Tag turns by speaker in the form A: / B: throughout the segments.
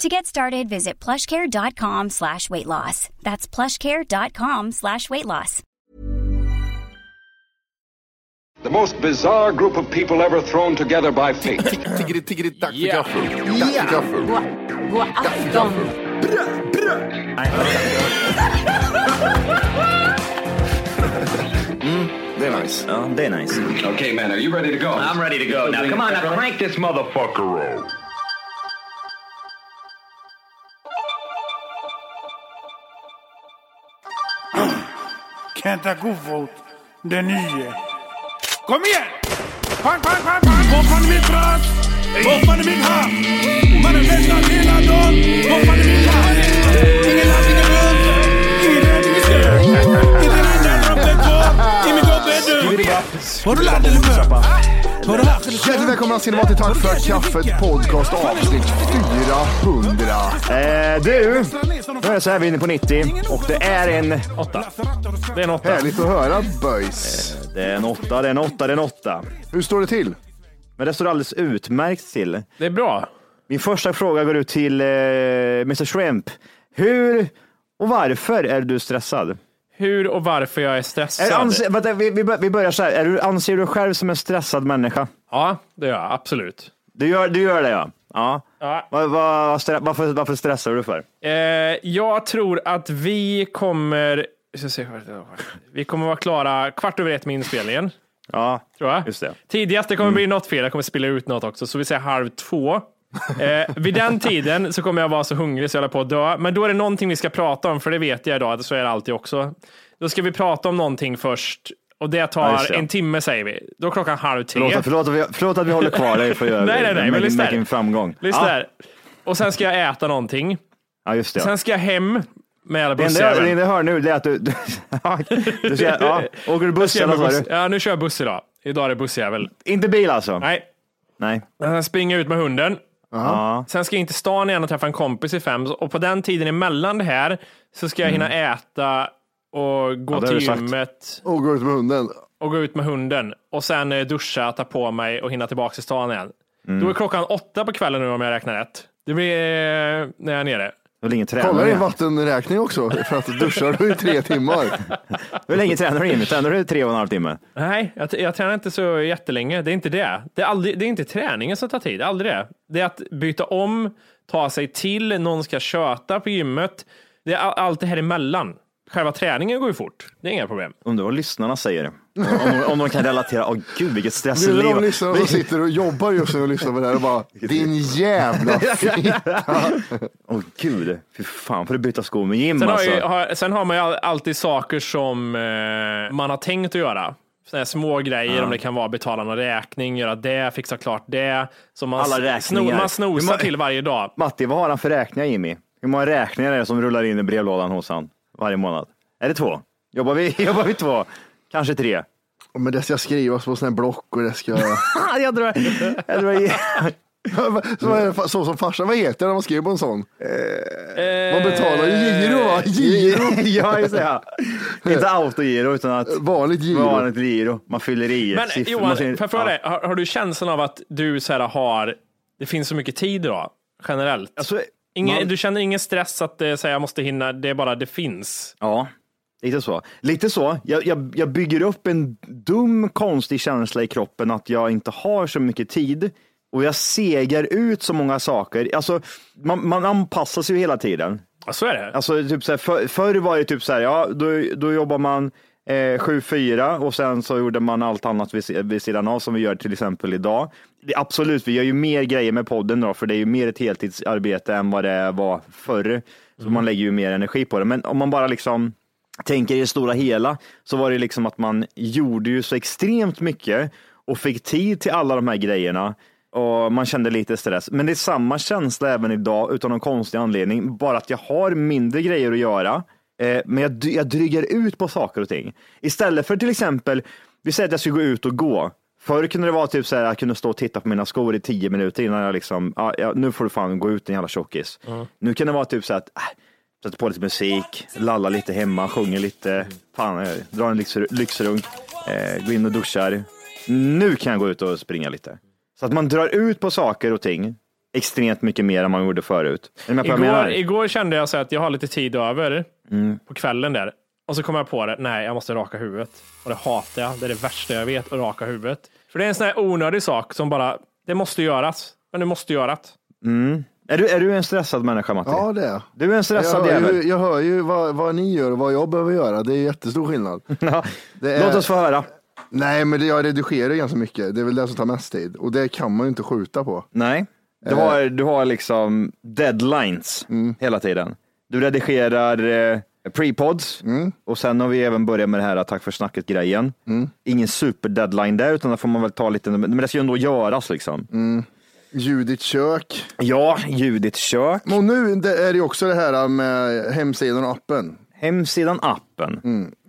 A: To get started, visit plushcare.com slash weight loss. That's plushcare.com slash weight loss.
B: The most bizarre group of people ever thrown together by fate.
C: Tiggeri, tiggeri, dack för
D: Ja.
C: gaffel. Dack för gaffel.
E: God afton.
C: Det är nice.
F: Ja, det är nice.
B: okay, man, are you ready to go?
D: I'm ready to go. Now, come on, now crank this motherfucker up.
G: Kenta Kofot, den nye. Kom igen! Pang, pang, pang, pang! Gå fan i mitt bröst! Gå fan i mitt hav! Mannen festar hela dagen! Gå fan i mitt hav! Ingen land, ingen runt! Ingen död, ingen stöd! Inte en enda droppe kvar i min gubbe är död! Har du lärt dig eller mör? Har du haft eller
C: Hjärtligt välkomna ska ni vara till Tack för kaffet podcast avsnitt 400.
F: Eh, du, nu är det så här vi är inne på 90 och det är en...
D: Det är en åtta.
C: Härligt att höra boys.
F: Det är en åtta, det är en åtta, det är en åtta.
C: Hur står det till?
F: Men det står alldeles utmärkt till.
D: Det är bra.
F: Min första fråga går ut till eh, Mr Shrimp. Hur och varför är du stressad?
D: Hur och varför jag är stressad?
F: Är, anser, vänta, vi, vi bör- vi börjar så här. Är du, anser du dig själv som en stressad människa?
D: Ja, det gör jag. Absolut.
F: Du gör, du gör det ja. ja.
D: Ja.
F: Va, va, stre- varför, varför stressar du för?
D: Eh, jag tror att vi kommer... jag ska se, Vi kommer vara klara kvart över ett med inspelningen.
F: Ja,
D: Tror jag.
F: Just det. Mm.
D: Tidigast det kommer bli något fel, jag kommer spilla ut något också, så vi säger halv två. Eh, vid den tiden så kommer jag vara så hungrig så jag håller på att dö. Men då är det någonting vi ska prata om, för det vet jag idag, att så är det alltid också. Då ska vi prata om någonting först, och det
F: Ja,
D: tar
F: just det.
D: en timme säger vi. Då är klockan halv tre.
F: Förlåt, förlåt, att vi, förlåt att vi håller kvar dig för att göra
D: Nej, nej, nej, men
F: make,
D: lyssna här.
F: make en framgång.
D: Lyssna
F: ja.
D: här. Och sen ska jag äta någonting.
F: Ja, just det.
D: Sen ska jag hem med alla
F: Det enda jag- det
D: bussjäveln.
F: enda jag hör nu det är att du, du, du ska, ja, åker du buss
D: Ska jag
F: eller
D: med
F: vad sa
D: buss-
F: du?
D: Ja, nu kör jag buss idag. Idag är det bussjävel.
F: Inte bil alltså?
D: Nej,
F: Nej.
D: sen springer jag ut med hunden.
F: Ja.
D: Sen ska jag in till stan igen och träffa en kompis i fem. Och på den tiden emellan det här så ska jag hinna äta och gå
F: Mm. Ja, det har
D: till
F: du sagt.
D: gymmet
C: Och gå ut med hunden.
D: och gå ut med hunden. Och sen eh, duscha, ta på mig och hinna tillbaka till stan igen.
F: Mm.
D: Då är klockan åtta på kvällen nu om jag räknar rätt. Det blir eh, när jag är nere.
F: Hur länge tränar
C: Kolla
F: du?
C: din vattenräkning också, för att duschar du i tre timmar.
F: Hur länge tränar du Jimmy? Tränar du tre och en halv timme?
D: Nej, jag, jag tränar inte så jättelänge. Det är inte det. Det är, aldrig, det är inte träningen som tar tid. Aldrig det. Det är att byta om, ta sig till, någon ska köta på gymmet. Det är all, allt det här emellan. Själva träningen går ju fort. Det är inga problem.
F: Undrar vad lyssnarna säger. Om de, om de kan relatera. Åh gud vilket
C: Det är de
F: stressliv.
C: lyssnare som sitter och jobbar just nu och lyssnar på det här och bara, din jävla fitta.
F: Åh gud, fy fan får du byta skor med Jim
D: Sen har,
F: alltså.
D: ju, har, sen har man ju all- alltid saker som eh, man har tänkt att göra. Såna här små grejer, om det kan vara betala någon räkning, göra det, fixa klart det. Som man,
F: Alla räkningar.
D: Sno, man
F: Hur
D: snosar
F: många-
D: till varje dag.
F: Matti, vad har han för räkningar Jimmy? Hur många räkningar är det som rullar in i brevlådan hos han varje månad? Är det två? Jobbar vi, jobbar vi två? Kanske tre?
C: Men det ska skrivas på sån här block och det ska...
F: jag drar, jag drar,
C: Så, vad är det, så som farsan, vad heter det när man skriver på en sån? Man betalar ju Eh, giro va? Giro.
F: ja, just det. Ja. Inte autogiro utan att
C: Vanligt giro.
F: vanligt giro. Man fyller i
D: Men
F: siffror.
D: Johan,
F: man
D: får
F: ser-
D: jag fråga dig, har, har du känslan av att du så här har, det finns så mycket tid idag, generellt?
F: Alltså,
D: ingen,
F: man-
D: Du känner ingen stress att det, så här, jag måste hinna, det är bara det finns?
F: Ja, lite så. Lite så. Jag, jag, jag bygger upp en dum konstig känsla i kroppen att jag inte har så mycket tid och jag segar ut så många saker. Alltså, man, man anpassar sig ju hela tiden.
D: Ja, så är det.
F: Alltså, typ så här, för, förr var det typ så här, ja, då, då jobbar man Eh, 7-4 och sen så gjorde man allt annat vid, si- vid sidan av som vi gör till exempel idag. Det, absolut, vi gör ju mer grejer med podden då, för det är ju mer ett heltidsarbete än vad det var förr. Så man lägger ju mer energi på det. Men om man bara liksom tänker i det stora hela så var det liksom att man gjorde ju så extremt mycket och fick tid till alla de här grejerna och man kände lite stress. Men det är samma känsla även idag utan någon konstig anledning, bara att jag har mindre grejer att göra. eh, Men jag, dy- jag drygar ut på saker och ting. Istället för till exempel, vi säger att jag skulle gå ut och gå. Förr kunde det vara typ så här, jag kunde stå och titta på mina skor i tio minuter innan jag liksom, ah, ja, nu får du fan gå ut din jävla tjockis. Nu kan det vara typ så här att, äh, Sätter på lite musik, lallar lite hemma, sjunger lite, fan, eh, drar en lyxr- lyxrunk, eh, går in och duschar. Nu kan jag gå ut och springa lite. Så att man drar ut på saker och ting extremt mycket mer än man gjorde förut. Är ni med på vad jag
D: Igår,
F: menar? Mm.
D: igår kände jag så här att jag har lite tid över på kvällen där. Och så kom jag på det, nej jag måste raka huvudet. Och det hatar jag, det är det värsta jag vet, att raka huvudet. För det är en sån här onödig sak som bara, det måste göras, men det måste göras.
F: Är, du, är du en stressad människa Matti?
C: Ja, det är jag.
F: Du är en stressad
C: jag hör ju,
F: jävel.
C: jag hör ju vad, vad ni gör och vad jag behöver göra. Det är jättestor skillnad.
F: Ja.
C: Det är-
F: Låt oss få höra.
C: Nej, men det, jag redigerar ganska mycket. Det är väl det som tar mest tid och det kan man ju inte skjuta på.
F: Nej, du har, du har liksom deadlines hela tiden. Du redigerar eh, prepods och sen har vi även börjat med det här tack för snacket grejen. Ingen superdeadline där utan där får man väl ta lite, men det ska ju ändå göras liksom.
C: Ljud i ett kök.
F: Ja, ljudet kök.
C: Och nu det är det ju också det här med hemsidan och appen.
F: Hemsidan appen.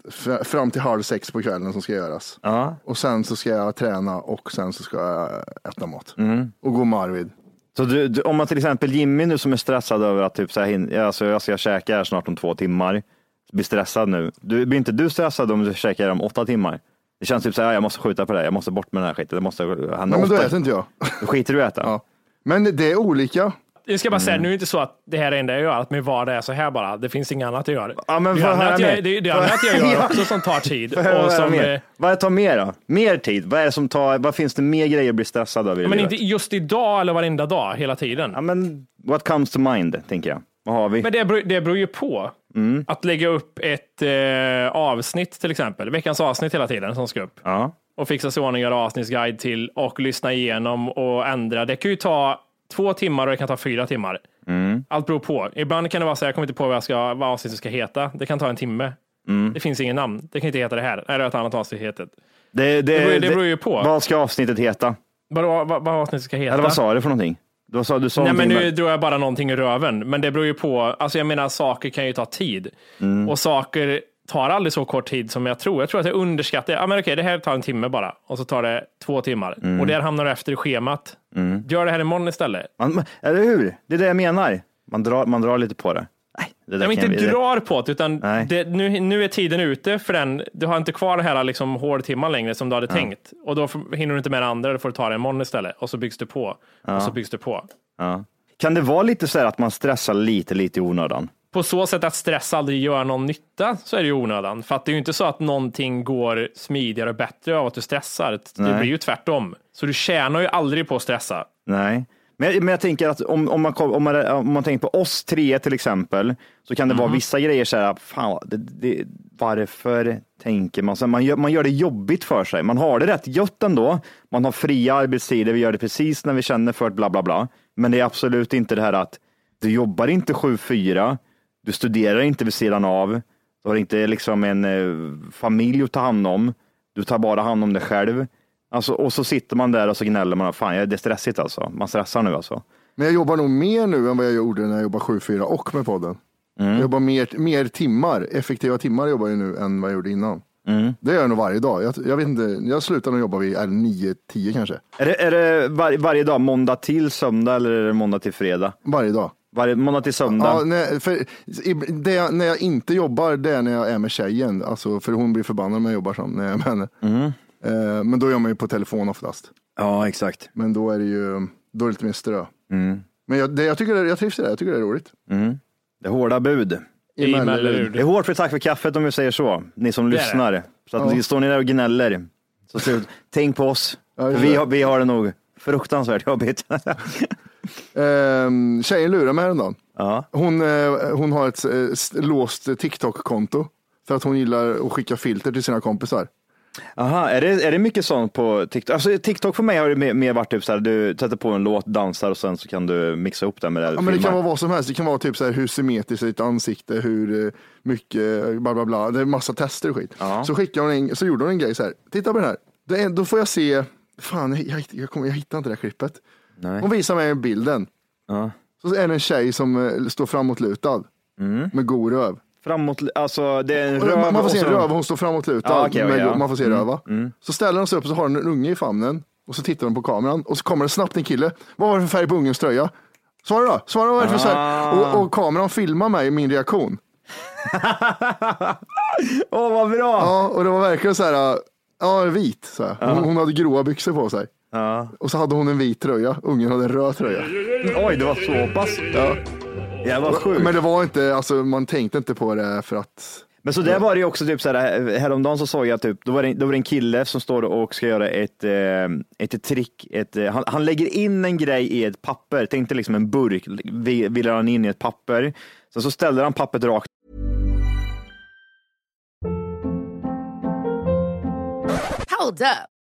C: F- fram till halv sex på kvällen som ska göras.
F: Ja.
C: Och sen så ska jag träna och sen så ska jag äta mat.
F: Mm.
C: Och gå med Arvid.
F: Så du, du, om man till exempel Jimmy nu som är stressad över att typ så här, hin- alltså jag ska käka här snart om två timmar, blir stressad nu. Du, blir inte du stressad om du käkar om åtta timmar? Det känns typ så här, jag måste skjuta på det här, jag måste bort med den här skiten. Det måste, han
C: Nej, men då
F: åtta-
C: äter inte jag.
F: Då skiter du i att äta?
C: ja. Men det är olika.
D: Jag ska bara säga,
F: Mm.
D: nu är det inte så att det här är det enda jag gör, att min vardag är så här bara. Det finns inget annat jag gör.
F: Ja, men
D: det
F: får
D: är
F: jag höra
D: annat
F: mer?
D: jag, det, är- det är
F: Får jag-
D: annat jag gör
F: Ja.
D: också som tar tid.
F: Vad är-
D: Och
F: vad är
D: som,
F: mer?
D: eh,
F: Vad tar mer då? Mer tid? Vad är det som tar, vad finns det mer grejer att bli stressad över i
D: men
F: livet?
D: inte just idag eller varenda dag, hela tiden.
F: Ja, men what comes to mind, tänker jag. Vad har vi?
D: Men det beror, det beror ju på.
F: Mm.
D: Att lägga upp ett eh, avsnitt till exempel, veckans avsnitt hela tiden som ska upp.
F: Ja.
D: och fixa sig i ordning, göra avsnittsguide till och lyssna igenom och ändra. Det kan ju ta två timmar och det kan ta fyra timmar.
F: Mm.
D: Allt beror på. Ibland kan det vara så här, jag kommer inte på vad, jag ska, vad avsnittet ska heta. Det kan ta en timme.
F: Mm.
D: Det finns ingen namn. Det kan inte heta det här. Nej, det är ett annat avsnitt heter.
F: Det, det,
D: beror- det beror ju på.
F: Vad ska avsnittet heta?
D: Vad, vad, vad avsnittet ska heta?
F: Eller vad sa du för någonting? Du sa, du sa
D: Nej, men
F: någonting
D: nu drog jag bara någonting i röven. Men det beror ju på. Alltså jag menar, saker kan ju ta tid.
F: Mm.
D: Och saker tar aldrig så kort tid som jag tror. Jag tror att jag underskattar. Ja, men okej, det här tar en timme bara. Och så tar det två timmar.
F: Mm.
D: Och där hamnar du efter i schemat. Gör det här imorgon istället.
F: Man, man- eller hur? Det är det jag menar. Man drar, man drar lite på det. Nej, det där
D: Nej,
F: kan
D: men inte
F: vi-
D: drar på det, utan
F: Nej.
D: det, nu, nu är tiden ute för den. Du har inte kvar det här liksom, hårdtimman längre som du hade tänkt. Och då får- hinner du inte med det andra, då får du ta det imorgon istället. Och så byggs det på. Och så byggs det på.
F: Ja. Kan det vara lite så här att man stressar lite, lite i onödan?
D: på så sätt att stress aldrig gör någon nytta så är det ju onödan. För att det är ju inte så att någonting går smidigare och bättre av att du stressar. Det
F: Nej.
D: blir ju tvärtom. Så du tjänar ju aldrig på att stressa.
F: Nej. Men jag, men jag tänker att om, om, man, kom- om, man, om man tänker på oss tre till exempel, så kan det vara vissa grejer så här, fan, vad- det, det, varför tänker man så? här? Man gör, man gör det jobbigt för sig. Man har det rätt gött ändå. Man har fria arbetstider, vi gör det precis när vi känner för det, bla bla bla. Men det är absolut inte det här att du jobbar inte 7-4, du studerar inte vid sidan av, du har inte liksom en eh, familj att ta hand om, du tar bara hand om dig själv. Alltså, och så sitter man där och så gnäller man. Fan, det är stressigt alltså. Man stressar nu alltså.
C: Men jag jobbar nog mer nu än vad jag gjorde när jag jobbade 7-4 och med podden.
D: Mm.
C: Jag jobbar mer, mer timmar, effektiva timmar jobbar jag nu än vad jag gjorde innan.
D: Mm.
C: Det gör jag nog varje dag. Jag, jag vet inte, jag slutar nog jobba vid 9-10 kanske.
F: Är det, är det var, varje dag, måndag till söndag eller är det måndag till fredag?
C: Varje dag.
F: Varje, måndag till söndag?
C: Ja, nej, för, i, det, jag- när jag inte jobbar, det är när jag är med tjejen. Alltså, för hon blir förbannad om jag jobbar som när jag är med henne.
D: Mm.
C: Eh, men då gör man ju på telefon oftast.
F: Ja, exakt.
C: Men då är det ju då är det lite mer strö.
D: Mm.
C: Men jag, det, jag, tycker det, jag trivs i det, jag tycker det är roligt.
F: Det är hårda bud.
D: I
C: Emellerud.
D: Mellerud.
F: Det är hårt för tack för kaffet om vi säger så, ni som
D: Det är
F: lyssnar. Så att ni står ni där och gnäller, så slut. tänk på oss.
C: Ja, just
F: vi,
C: det.
F: har, vi har det nog fruktansvärt jobbigt.
C: Ehm, tjejen lurade mig häromdagen.
F: ja.
C: Hon, eh, hon har ett eh, s- låst TikTok-konto. För att hon gillar att skicka filter till sina kompisar.
F: Aha, är det, är det mycket sånt på TikTok? Alltså, TikTok för mig har det mer, mer varit typ så här, du sätter på en låt, dansar och sen så kan du mixa ihop den med det du
C: Ja, men det kan
F: filmar.
C: vara vad som helst. Det kan vara typ så här, hur symmetriskt är ditt ansikte, hur eh, mycket, eh, bla bla bla. Det är massa tester och skit.
F: Ja.
C: Så, skickade hon en, så gjorde hon en grej så här. Titta på den här. Det är, då får jag se. Fan, jag, jag, jag, kommer, jag hittar inte det här klippet.
F: Nej.
C: Hon visar mig bilden.
F: Ja.
C: Så är det en tjej som eh, står framåtlutad
F: Mm.
C: med god röv.
F: Framåt, alltså det är en
C: Och
F: röv.
C: man, man får se
F: och
C: en
F: så-
C: röv, hon står framåtlutad.
F: Ja, okej,
C: med,
F: ja. Mm,
C: Man får se röva. Så ställer hon sig upp och så har hon en unge i famnen. Och så tittar hon på kameran och så kommer det snabbt en kille. Vad var det för färg på ungens tröja? Svara då, svara vad är det för färg?
F: Ah.
C: Och, och kameran filmar mig i min reaktion.
F: Åh, vad bra!
C: Ja, och det var verkligen så här, äh, ja vit. Så här. Hon, hon hade gråa byxor på sig.
F: Ja.
C: Och så hade hon en vit tröja, ungen hade en röd tröja.
F: Oj, det var så pass. Ja. Jag var sjukt.
C: Men det var inte, alltså man tänkte inte på det för att
F: Men så där var det ju också typ så här, häromdagen så såg jag typ, då var, det, då var det en kille som står och ska göra ett, eh, ett trick. Ett, eh, han, han lägger in en grej i ett papper, tänk dig liksom en burk, vi- villar han in i ett papper. Sen så ställer han pappret rakt
H: Hold up.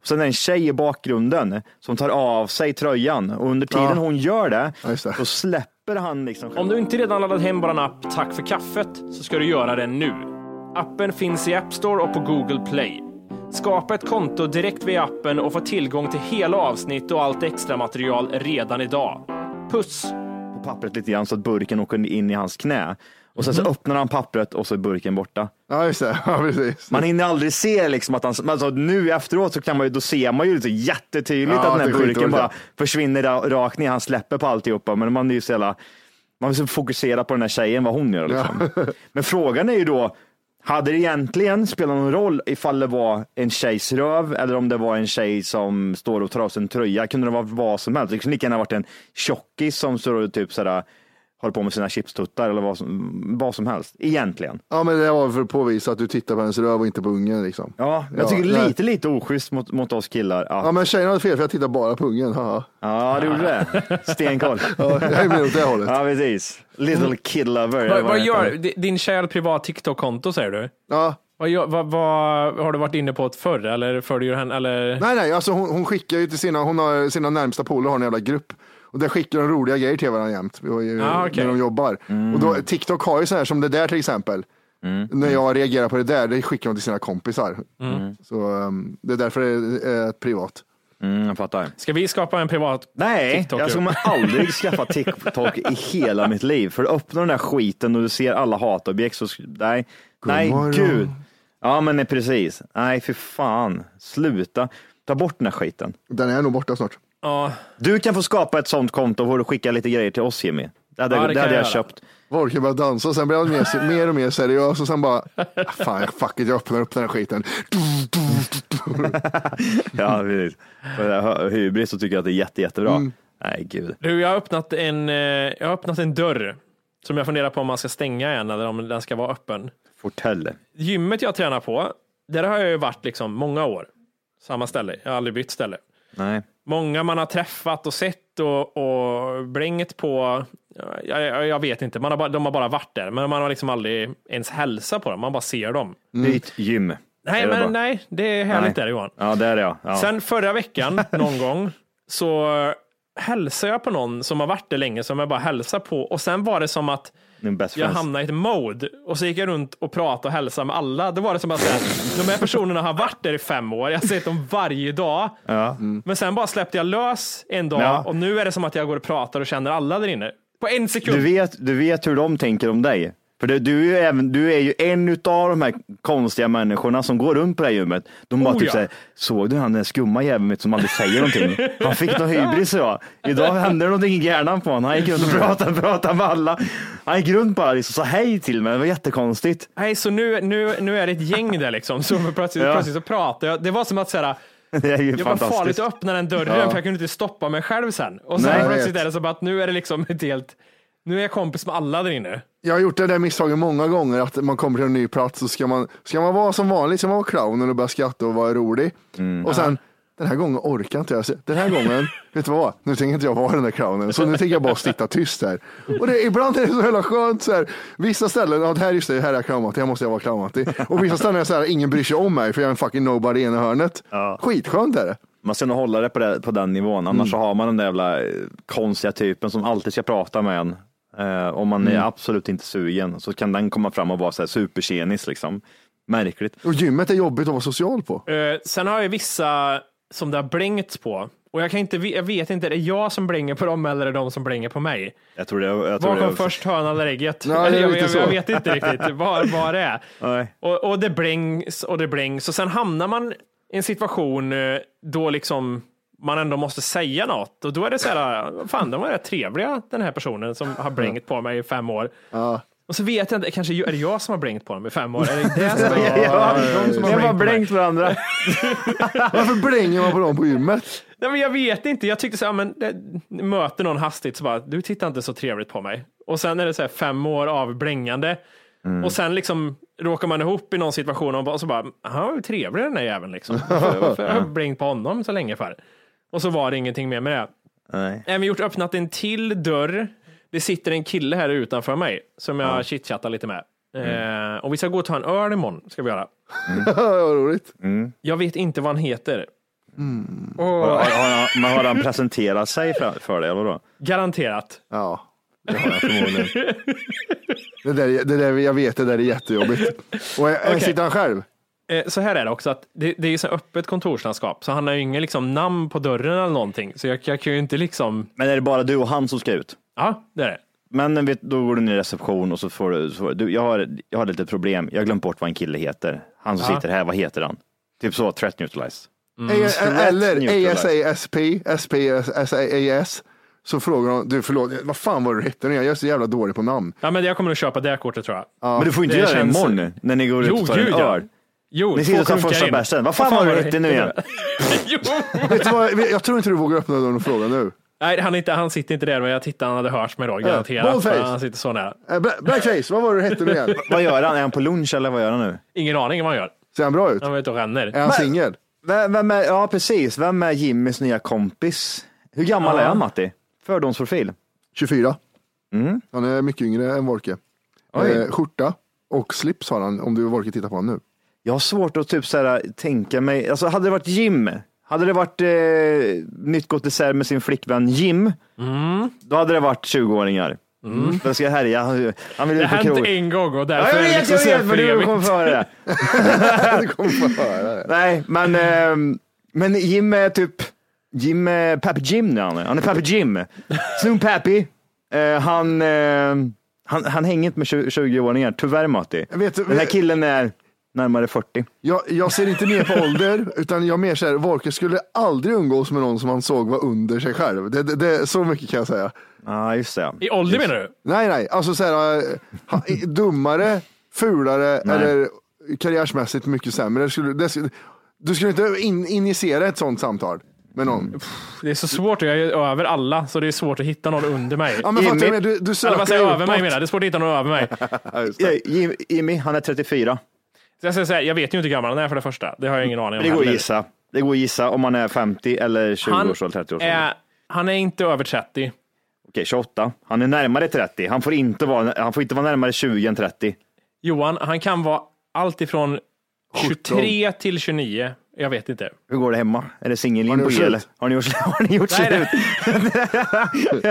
F: Och sen är det en tjej i bakgrunden som tar av sig tröjan och under tiden
C: Ja.
F: hon gör det,
C: Ja, just det.
F: då släpper han liksom.
D: Om du inte redan laddat hem vår app Tack för kaffet så ska du göra det nu. Appen finns i App Store och på Google Play. Skapa ett konto direkt via appen och få tillgång till hela avsnitt och allt extra material redan idag. Puss!
F: på pappret lite grann så att burken åker in i hans knä. Och sen så öppnar han pappret och så är burken borta.
C: Ja just det, ja precis.
F: Man hinner aldrig se liksom att han, men alltså nu efteråt så kan man ju, då ser man ju liksom jättetydligt
C: Ja, det
F: att den här
C: är
F: burken
C: skitdåligt,
F: bara
C: ja.
F: försvinner ra- rakt ner. Han släpper på alltihopa, men man är ju så jävla, man vill så fokusera på den här tjejen, vad hon gör. Liksom. Men frågan är ju då, hade det egentligen spelat någon roll ifall det var en tjejs röv eller om det var en tjej som står och tar av sig en tröja? Kunde det vara vad som helst? Det kunde lika gärna varit en tjockis som står och typ sådär, håller på med sina chipstuttar eller vad som, vad som helst egentligen.
C: Ja men det var för att påvisa att du tittar på hennes röv och inte på ungen liksom.
F: Ja, jag tycker
C: nej.
F: lite, lite oschysst mot, mot oss killar. Att,
C: Ja
F: ja,
C: men tjejerna hade fel för jag tittar bara på ungen. haha.
F: du gjorde det. Stenkoll.
C: Ja, jag är mer åt det hållet.
F: ja, precis. Little kid lover. eller
D: Vad,
F: vad
D: vad
F: det
D: gör
F: heter.
D: di- din kära privat TikTok-konto säger du?
C: Ja.
D: Vad, gör- vad, vad har du varit inne på förr eller följer du henne eller?
C: Nej nej, alltså hon, hon skickar ju till sina, hon har, sina närmsta polare har en jävla grupp. Och där skickar de roliga grejer till varandra jämt. och-
D: Ah, okej.
C: När de jobbar. Och då, TikTok har ju så här som det där till exempel. När jag reagerar på det där, det skickar de till sina kompisar.
D: Mm.
C: Så um, det är därför det är eh, privat.
F: Mm, jag fattar.
D: Ska vi skapa en privat?
F: Nej,
D: TikTok,
F: jag
D: ja.
F: kommer aldrig skaffa TikTok i hela mitt liv. För du öppnar den där skiten och du ser alla hatobjekt så... sk- Nej, nej
C: morgon.
F: gud. Ja, men nej, precis. Nej, för fan. Sluta. Ta bort den här skiten.
C: Den är nog borta snart.
D: Ja,
F: Du kan få skapa ett sånt konto och du skickar lite grejer till oss Jimmy. Det hade,
D: Ja, det
F: det
D: kan
F: hade
D: jag
F: jag,
D: göra.
F: köpt.
C: Folk började dansa och sen blev han mer, mer och mer seriös och sen bara, "Ah, fan fuck it, jag öppnar upp den här skiten.
F: Ja, precis. Och det här Hybris så tycker jag att det är jätte, jättebra. Nej, gud.
D: du, jag har öppnat en, eh, jag har öppnat en dörr som jag funderar på om man ska stänga igen eller om den ska vara öppen.
F: Fortell.
D: gymmet jag tränar på, där har jag ju varit liksom många år. Samma ställe, jag har aldrig bytt ställe.
F: Nej.
D: Många man har träffat och sett och, och blänget på, jag, jag, jag vet inte, man har bara, de har bara varit där, men man har liksom aldrig ens hälsat på dem, man bara ser dem.
F: Byt gym.
D: Nej,
F: Är det
D: men
F: bra?
D: nej, det är härligt
F: Nej.
D: där Johan.
F: Ja, det är det ja. ja.
D: Sen förra veckan någon gång så hälsade jag på någon som har varit där länge som jag bara hälsar på och sen var det som att
F: Din best
D: jag
F: friends.
D: hamnade i ett mode och så gick jag runt och pratade och hälsade med alla. Då var det som att så här, de här personerna har varit där i fem år. Jag har sett dem varje dag.
F: Ja.
D: Men sen bara släppte jag lös en dag
F: Ja.
D: och nu är det som att jag går och pratar och känner alla där inne. På en sekund.
F: Du vet, du vet hur de tänker om dig. För du, du, är, ju även, du är ju en av de här konstiga människorna som går runt på det här gymmet. De bara
D: Oh,
F: typ
D: ja.
F: såhär, såg du han den skumma jäveln vet som aldrig säger någonting? Han fick någon hybris idag. Idag hände det någonting i hjärnan på honom. Han gick runt och pratade, pratade med alla. Han gick runt bara liksom, sa hej till mig. Det var jättekonstigt.
D: Nej, så nu, nu, nu är det ett gäng där liksom. Så plötsligt,
F: Ja.
D: plötsligt så pratar jag. Det var som att så här,
F: Det är ju
D: jag var
F: fantastiskt.
D: farligt att öppna den dörren
F: Ja.
D: för jag kunde inte stoppa mig själv sen. Och
F: Nej,
D: sen
F: jag
D: plötsligt
C: vet.
D: är det som att nu är det liksom ett helt, nu är jag kompis med alla där inne.
C: Jag har gjort det där misstaget många gånger att man kommer till en ny plats och ska man, ska man vara som vanligt, ska man vara clownen och börja skratta och vara rolig. och sen, den här gången orkar inte jag. Den här gången, vet du vad, nu tänker inte jag vara den där clownen, så nu tänker jag bara sitta tyst här. Och det, ibland är det så jävla skönt så här, vissa ställen, ja det här just det, här är jag clownmattig, här måste jag vara clownmattig. Och vissa ställen är det så här, ingen bryr sig om mig för jag är en fucking nobody i ena hörnet. Skitskönt är det.
F: Man ska nog hålla det på, det, på den nivån, annars så har man den där jävla eh, konstiga typen som alltid ska prata med en. Eh, om man är absolut inte sugen så kan den komma fram och vara så här supertjenis liksom. Märkligt.
C: Och gymmet är jobbigt att vara social på.
D: Eh, sen har jag vissa som det har blängt på. Och jag, kan inte, jag vet inte, är det jag som blänger på dem eller är det de som blänger på mig?
F: Jag tror det. Jag tror
D: Vad
F: det
D: kom först, hönan eller ägget?
C: Ja, det är
D: Eller jag,
C: lite
D: jag,
C: så.
D: jag vet inte riktigt vad, vad det är.
F: Nej.
D: Och, och det blängs och det blängs och sen hamnar man i en situation eh, då liksom man ändå måste säga något och då är det så här, "Ah, fan de var rätt trevliga den här personen som har blängt på mig i fem år. Och så vet jag inte, kanske är det jag som har blängt på dem i fem år? Är det det som är
F: Ja, ja,
D: de som
F: Vi
D: har
F: har bara
D: blängt på mig?
F: blänkt varandra.
C: Varför blänger man på dem på gymmet?
D: Nej, men jag vet inte. Jag tyckte så här, men det, möter någon hastigt så bara, du tittar inte så trevligt på mig. Och sen är det så här fem år av blängande. Och sen liksom råkar man ihop i någon situation och bara- så bara, han var ju trevlig den där jäveln liksom. Varför varför har jag blängt på honom så länge för? Och så var det ingenting mer med det.
F: Nej.
D: Även gjort öppnat en till dörr. Det sitter en kille här utanför mig som jag chitchattar lite med. Eh, och vi ska gå och ta en öl imorgon, ska vi göra.
C: Vad roligt.
D: Jag vet inte vad han heter.
F: Har, har, har, men har han presenterat sig för, för dig eller då?
D: Garanterat.
C: Ja.
F: Det har han förmodligen.
C: Det där, det där, jag vet, det där är jättejobbigt. Och jag,
D: Okej.
C: sitter han själv?
D: Eh, så här är det också, att det, det är ju så här öppet kontorslandskap, så han har ju ingen liksom, namn på dörren eller någonting, så jag, jag kan ju inte liksom,
F: Men är det bara du och han som ska ut?
D: ja, det är det.
F: Men vet, då går du ner i reception och så får du, så får du jag, har, jag har lite problem, jag har glömt bort vad en kille heter. Han som
D: Ja.
F: sitter här, vad heter han? Typ så, threat neutralized.
C: A- Eller
F: Neutral.
C: ASASP, SPSAAS. Så frågar de, du förlåt, vad fan var du hette nu igen? Jag är så jävla dålig på namn.
D: Ja, men jag kommer att köpa det kortet tror jag.
F: Men du får inte
D: Det
F: göra det
D: känns-
F: imorgon när ni går ut
D: Jo,
F: och tar en
D: gud, ja.
F: öl.
D: Jo,
F: Ni
D: två
F: sitter och tar
D: klunkar
F: första
D: in.
F: bästen. Vad fan var du hette nu igen?
D: jo.
C: Vet du vad, jag tror inte du vågar öppna dörren och fråga nu.
D: Nej, han, är inte, han sitter inte där, men jag tittade, han hade hört mig då, garanterat.
C: boldface.
D: för han sitter så nära.
C: Eh, Bla- Blackface, vad var du hette nu igen?
F: Vad gör han? Är han på lunch eller vad gör han nu?
D: Ingen aning vad han gör.
C: Ser han bra ut?
D: Han var ute och ränner.
C: Är han singel?
F: Vem, vem är, ja, precis. Vem är Jimmys nya kompis? Hur gammal
D: Ja.
F: är han Matti? Fördomsprofil.
C: 24. Han är mycket yngre än Wolke.
F: Oj.
C: Eh, skjorta och slips har han, om du Wolke tittar på honom nu.
F: Jag har svårt att typ så här, tänka mig, alltså hade det varit Jim, hade det varit eh, nytt gått isär med sin flickvän Jim, då hade det varit 20-åringar. Mm. Den ska härja, han, han vill
D: Det
F: ut på
D: har hänt
F: krog.
D: en gång och
F: Ja,
D: därför
F: jag
D: är det
F: vet,
D: liksom
F: jag
D: så här
F: vet, men
D: för
F: du kommer
D: evigt.
F: få höra det.
C: Du kommer få höra det.
F: Nej, men, ehm, men Jim är typ, Jim är Pappy Jim nu är han är. Han är Pappy Jim. Snoom Pappy. Eh, han, ehm, han, han hänger inte med 20- 20-åringar, tyvärr Matti.
C: Jag vet-
F: Den här killen är närmare 40.
C: Jag, jag ser inte mer på ålder, utan jag mer så här, Wolke skulle aldrig umgås med någon som han såg var under sig själv. Det, det, det, så mycket kan jag säga.
F: Ja, just det.
D: I ålder menar du?
C: Nej, nej, alltså så här, eh, ha- i- dummare, fulare
F: Nej.
C: eller karriärsmässigt mycket sämre. Det skulle, det skulle, du skulle inte in, initiera ett sånt samtal med
D: Mm.
C: någon.
D: Det är så svårt, jag är över alla, så det är svårt att hitta någon under mig.
C: Ja, men fattar du, vad jag menar? du, du
D: Eller vad
C: söker
D: säger jag, över mig
C: uppåt.
D: menar jag. Det är svårt att hitta någon över mig.
C: Ja, just det.
F: Ja, Eh, Jim- Jimmy, han är 34.
D: Så jag, säger så här, jag vet ju inte hur gammal han är för det första. Det har jag ingen aning om
F: Det går att
D: heller.
F: gissa. Det går att gissa om han är 50 eller 20
D: Han
F: års ålder, 30 års ålder.
D: är, han är inte över 30.
F: Okej, 28. Han är närmare 30. Han får inte vara, han får inte vara närmare 20 än 30.
D: Johan, han kan vara allt ifrån 23 till 29. Jag vet inte.
F: Hur går det hemma? Är det
C: Har ni
F: singelgym på
C: gjort
F: el?
C: slut?
F: Har ni gjort slut? Har ni gjort
D: Nej,
F: slut?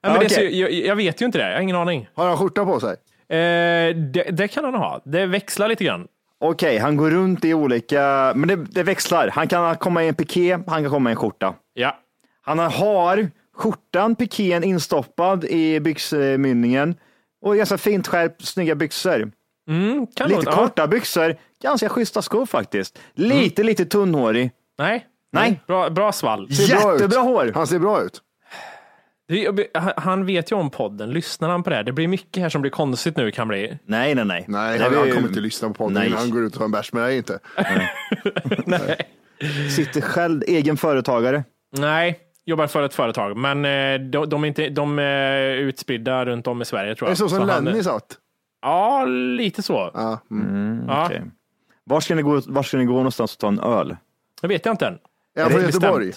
D: Ja, men det,
F: Okej.
D: ser- jag, jag vet ju inte det. Jag har ingen aning.
C: Har han skjorta på sig?
D: Eh, det, det kan han ha. Det växlar lite grann.
F: Okej, han går runt i olika, men det, det växlar. Han kan komma i en piké, han kan komma i en skjorta.
D: Ja.
F: Han har skjortan, pikén instoppad i byxmynningen och ganska fint skärp, snygga byxor.
D: Mm, kan
F: Lite
D: nog-
F: korta byxor, ganska schyssta skor faktiskt. Lite,
D: Mm.
F: lite tunnhårig.
D: Ja. Nej.
F: Nej.
D: Bra, bra svall.
C: Ser bra ut.
F: Jättebra hår.
C: Han ser bra ut.
D: Det är- han- Han vet ju om podden. Lyssnar han på det här? Det blir mycket här som blir konstigt nu kan bli.
F: Nej, nej, nej.
C: Nej,
F: Det
C: han,
F: var
C: han
F: ju-
C: kommer inte lyssna på podden
F: Nej.
C: innan han går ut och tar en bärs med dig inte.
F: Sitter själv, egen företagare.
D: Nej, jobbar för ett företag, men eh, de, de, är inte, de är utspridda runt om i Sverige tror
C: Det är
D: jag.
C: så som
D: Så han-
C: Lenny satt.
D: Ja, lite så.
C: Ja, mm.
D: ja,
F: Okej. Var ska, ni gå, var ska ni gå någonstans och ta en öl?
D: Det vet jag inte än.
C: Är han från
D: det bestämt?
C: Göteborg?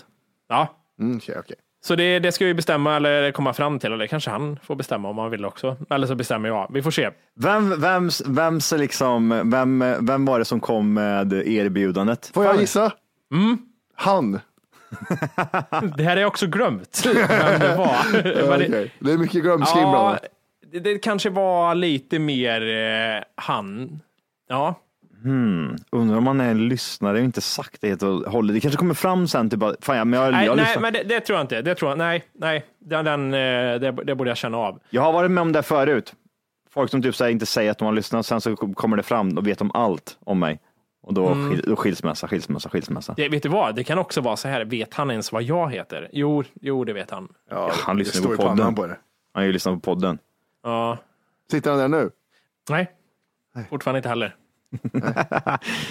D: Ja.
C: Mm, okej, okej.
D: Så det, det ska vi bestämma eller komma fram till, eller kanske han får bestämma om han vill också. Eller så bestämmer jag. Vi får se.
F: Vem, vem, vem, liksom, vem, vem var det som kom med erbjudandet?
C: Får jag gissa?
F: Mm.
C: Han.
D: Det här är jag också glömt. Vem det var. Men det,
C: Okej. Det är mycket glömska
D: ja,
C: inblandat.
D: det, det kanske var lite mer eh, han. Ja,
F: Undrar om han är en lyssnare och inte sagt det helt och hållet. Det kanske kommer fram sen, typ, bara, fan, ja, men jag,
D: nej,
F: jag,
D: nej
F: lyssnar.
D: men det, det tror jag inte. Det tror jag, nej, nej. Den, den, eh, det, det borde jag känna av.
F: jag har varit med om det förut. Folk som typ så här, inte säger att de har lyssnat, sen så kommer det fram och vet om allt om mig. Och då, skil, då skilsmässa, skilsmässa, skilsmässa.
D: Det, vet du vad? Det kan också vara så här. Vet han ens vad jag heter? Jo, jo det vet han.
F: Ja, han
C: Det
F: lyssnar
C: står
F: på
C: i pannan
F: podden.
C: på det.
F: Han har ju lyssnat på podden.
D: Ja.
C: Sitter han där nu?
D: Nej, fortfarande inte heller.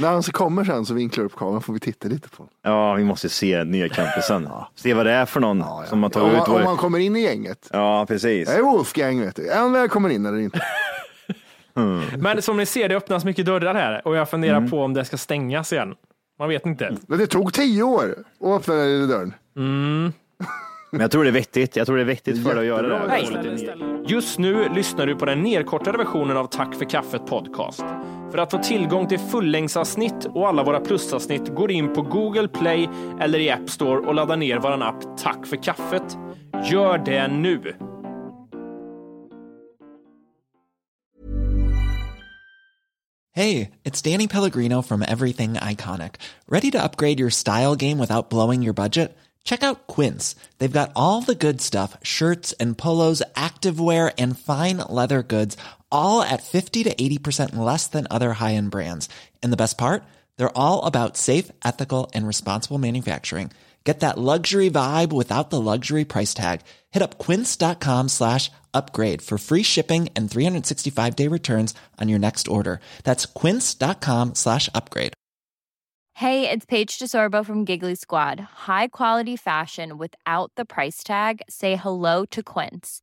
C: När han så kommer sen så vinklar jag upp kameran får vi titta lite på honom.
F: Ja, vi måste se nya campisen. Se vad det är för någon som har
C: Om,
F: tagit ut
C: han- om han
F: vår...
C: kommer in i gänget.
F: Ja, precis.
C: Det är Wolfgang vet du. Är han välkommen in eller inte?
D: Men som ni ser, det öppnas mycket dörrar här och jag funderar på om det ska stängas igen. Man vet inte.
C: Men det tog tio år att öppna den lilla dörren.
F: Men jag tror det är vettigt. Jag tror det är vettigt för dig att göra det.
D: Just nu lyssnar du på den nedkortade versionen av Tack för kaffet podcast. För att få tillgång till fullängdsavsnitt och alla våra plusavsnitt går in på Google Play eller i App Store och laddar ner vår app Tack för kaffet. Gör det nu!
I: Hey, it's Danny Pellegrino from Everything Iconic. Ready to upgrade your style game without blowing your budget? Check out Quince. They've got all the good stuff shirts and polos, activewear, and fine leather goods, all at 50 to 80% less than other high end brands. And the best part? They're all about safe, ethical, and responsible manufacturing. Get that luxury vibe without the luxury price tag. Hit up quince.com slash upgrade for free shipping and 365 day returns on your next order. That's quince.com slash upgrade.
J: Hey, it's Paige DeSorbo from Giggly Squad. High quality fashion without the price tag. Say hello to Quince.